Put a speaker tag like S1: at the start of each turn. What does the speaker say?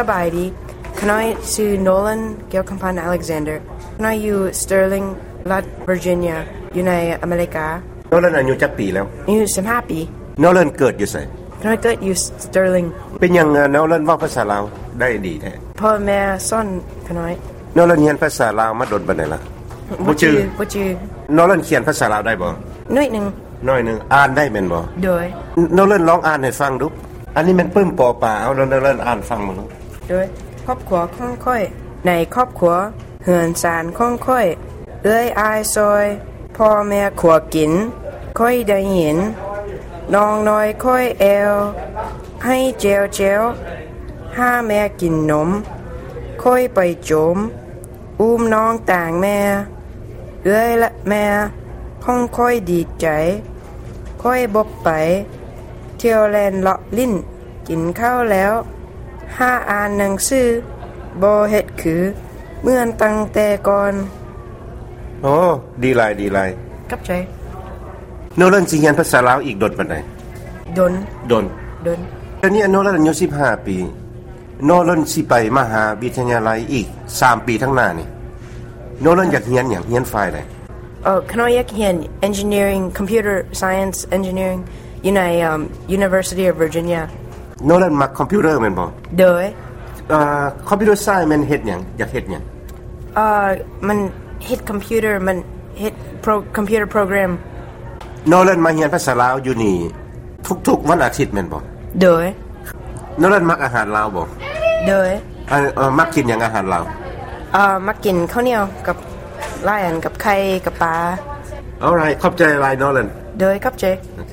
S1: สบายดีคณะชื่อโนลันเกลคัมพันธ์อเล็กซานเดอร์คณะอยู่สเตอร์ลิงรัฐเวอร์จิเนียอยู่ในอเมริกา
S2: โนเลนอายุจักปีแล้ว
S1: อายุ15ปี
S2: โนเลนเกิดอยู่ไส
S1: คณะเกิดอยู่สเตอร์ลิง
S2: เป็นหยังโนเลนเว้าภาษาลาวได้ดีแท้
S1: พ่อแม่ซ่อนคณะ
S2: โนเลนเรียนภาษาลาวมาดนบัดนี้ล่ะบ่จือ
S1: บ่จือ
S2: โนเลนเขียนภาษาลาวได้บ่
S1: หน้อยหนึง
S2: น้อยหนึงอ่านได้แม่นบ่
S1: โดย
S2: โนเลนลองอ่านให้ฟังดูอันนี้มันปึ้มปอปลาเอาโนเลนอ่านฟังมัน
S1: โดยครอบครัวของค่อย ในครอบครัวเฮือนสารของค่อย เอ้ยอายซอยพ่อแม่ขัวกิน ค่อยได้เห็นน้องน้อยค่อยแอวให้เจวเจวห้าแม่กินนม ค่อยไปโจม อุ้มน้องต่างแม่ เอ้ยและแม่ห้องค่อยดีใจ ค่อยบกไป เที่ยวแลนเลาะลิ้น กินข้าวแล้ว ห้าอ่านหนังสือบอเฮ็ดคือ เมื่อนตั้งแต่ก่อน
S2: โอ้ดีหลายดีหลาย
S1: กับใจ
S2: โนเลนสิเรียนภาษาลาวอีกดนบัดนี้
S1: ดน
S2: ดน
S1: ดน
S2: ตอนนี้โนเลนอายุ15 ปีโนเลนสิไปมหาวิทยาลัยอีก3ปีข้างหน้านี่โนเลนอยากเรียนหยังเรียนฝ่ายใด
S1: Uh, Kanoyak Hien, Engineering, Computer Science Engineering, Unai, um, University of Virginia.
S2: โนเลนมักคอมพิวเตอร์แม่นบ่
S1: Doi.
S2: เอ่อคอมพิวเตอร์ไซน์มันเฮ็ดหยังอยากเฮ็ดหยัง
S1: Uh, man hit computer, man hit pro computer program.
S2: โนเลนมาเรียนภาษาลาวอยู่นี่ทุกๆวันอาทิตย์แม่นบ่
S1: Doi.
S2: โนเลนมักอาหารลาวบ่
S1: Doi.
S2: อ่าเอ่อมักกินหยังอาหารลาว
S1: Uh, มากินข้าวเหนียวกับไล่อันกับไข่กับปลา
S2: Alright ขอบใจหลายโนเลน
S1: โดยกับเจ
S2: โอเค